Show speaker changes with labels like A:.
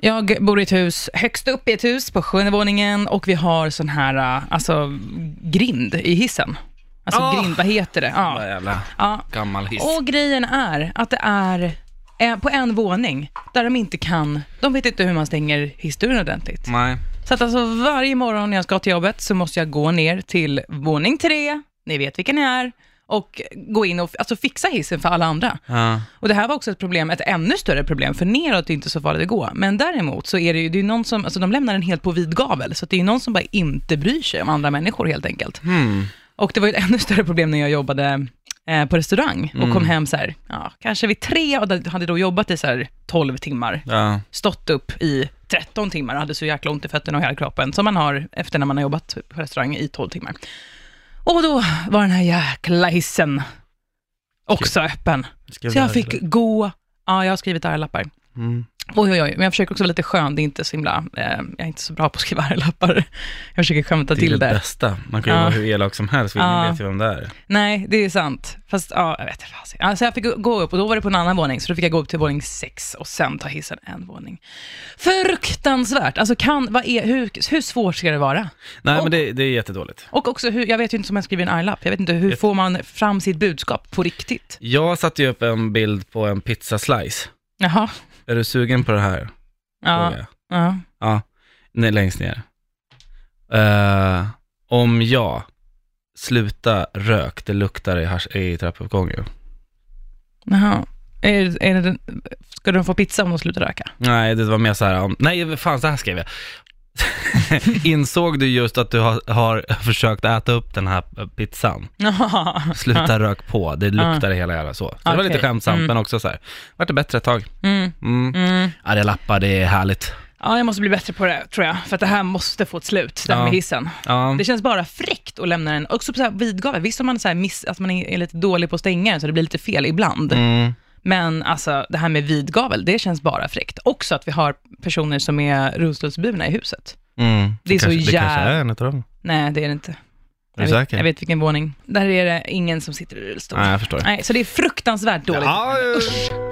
A: Jag bor i ett hus, högst upp i ett hus på sjunde våningen och vi har sån här, äh, alltså grind i hissen. Alltså
B: Ah!
A: grind, vad heter det?
B: Vad
A: Ja.
B: jävla
A: ja.
B: gammal hiss.
A: Och grejen är att det är eh, på en våning där de inte kan, de vet inte hur man stänger hissdörren ordentligt.
B: Nej.
A: Så att alltså varje morgon när jag ska till jobbet så måste jag gå ner till våning tre, ni vet vilken ni är, och gå in och alltså, fixa hissen för alla andra.
B: Ja.
A: Och det här var också ett problem, ett ännu större problem, för neråt är inte så farligt att gå. Men däremot så är det ju, det är ju någon som, alltså de lämnar den helt på vid gavel, så att det är ju någon som bara inte bryr sig om andra människor helt enkelt.
B: Hmm.
A: Och det var ju ett ännu större problem när jag jobbade eh, på restaurang och kom hem så här, ja, kanske vid tre och då- hade då jobbat i så här 12 timmar,
B: Ja.
A: stått upp i 13 timmar och hade så jäkla ont i fötterna och hela kroppen, som man har efter när man har jobbat på restaurang i 12 timmar. Och då var den här jäkla hissen också öppen.
C: Skrev
A: Så jag
C: det
A: fick gå, ja jag har skrivit arga-lappar.
B: Mm.
A: Oj, oj, oj, men jag försöker också vara lite skön, det är inte så himla, eh, jag är inte så bra på att skriva arga-lappar. Jag försöker skämta
B: Det är
A: till
B: det
A: det.
B: bästa. Man kan ju
A: Ja.
B: vara hur elak som helst, för ingen
A: Ja.
B: vet ju vem det är.
A: Nej, det är sant. Fast ja, jag vet inte. vad jag säger. Alltså jag fick gå upp och då var det på en annan våning, så då fick jag gå upp till våning sex och sen ta hissen en våning. Fruktansvärt! Alltså kan, vad är, hur, hur svårt ska det vara?
B: Nej,
A: Och-
B: men det, det är jättedåligt.
A: Och också, hur, jag vet ju inte som jag skriver en arg-lapp, jag vet inte, hur
B: Ett-
A: får man fram sitt budskap på riktigt?
B: Jag satte ju upp en bild på en pizzaslice.
A: Jaha,
B: Är du sugen på det här?
A: ja,
B: Frågar jag.
A: ja.
B: Ja, nej, längst ner. Eh, om jag sluta rök, det luktar i, hasch- i trappuppgången.
A: Jaha. Är, är det, ska de få pizza om de slutar röka?
B: Nej, det var mer så här, om- nej, fan så här skrev jag. Insåg du just att du har, har försökt äta upp den här eh, pizzan? Sluta rök på, det luktar i hela jävla så. så Det var lite
A: Okej.
B: skämtsamt,
A: Mm.
B: men också så här, vart det bättre ett tag?
A: Mm,
B: Mm.
A: mm.
B: Ja, det lappar, det är härligt.
A: Ja, jag måste bli bättre på det, tror jag. För att det här måste få ett slut, det här
B: Ja.
A: med hissen.
B: Ja,
A: Det känns bara fräckt att lämna den, också på så här vidgavel. Visst om man, så här miss, att man är är lite dålig på att stänga den, så det blir lite fel ibland.
B: mm.
A: Men alltså, det här med vidgavel, det känns bara fräckt. Också att vi har personer som är rullstolsburna i huset.
B: Mm.
A: Det är så
C: kanske, Det kanske
A: jävla...
C: är en utav dem.
A: Nej, det är det inte.
C: Är du
A: jag, vet,
C: säker?
A: jag vet vilken våning. Där är det ingen som sitter i rullstol.
B: Nej, jag förstår.
A: Nej, så det är fruktansvärt dåligt.
C: Ja, ja, ja.
A: Usch.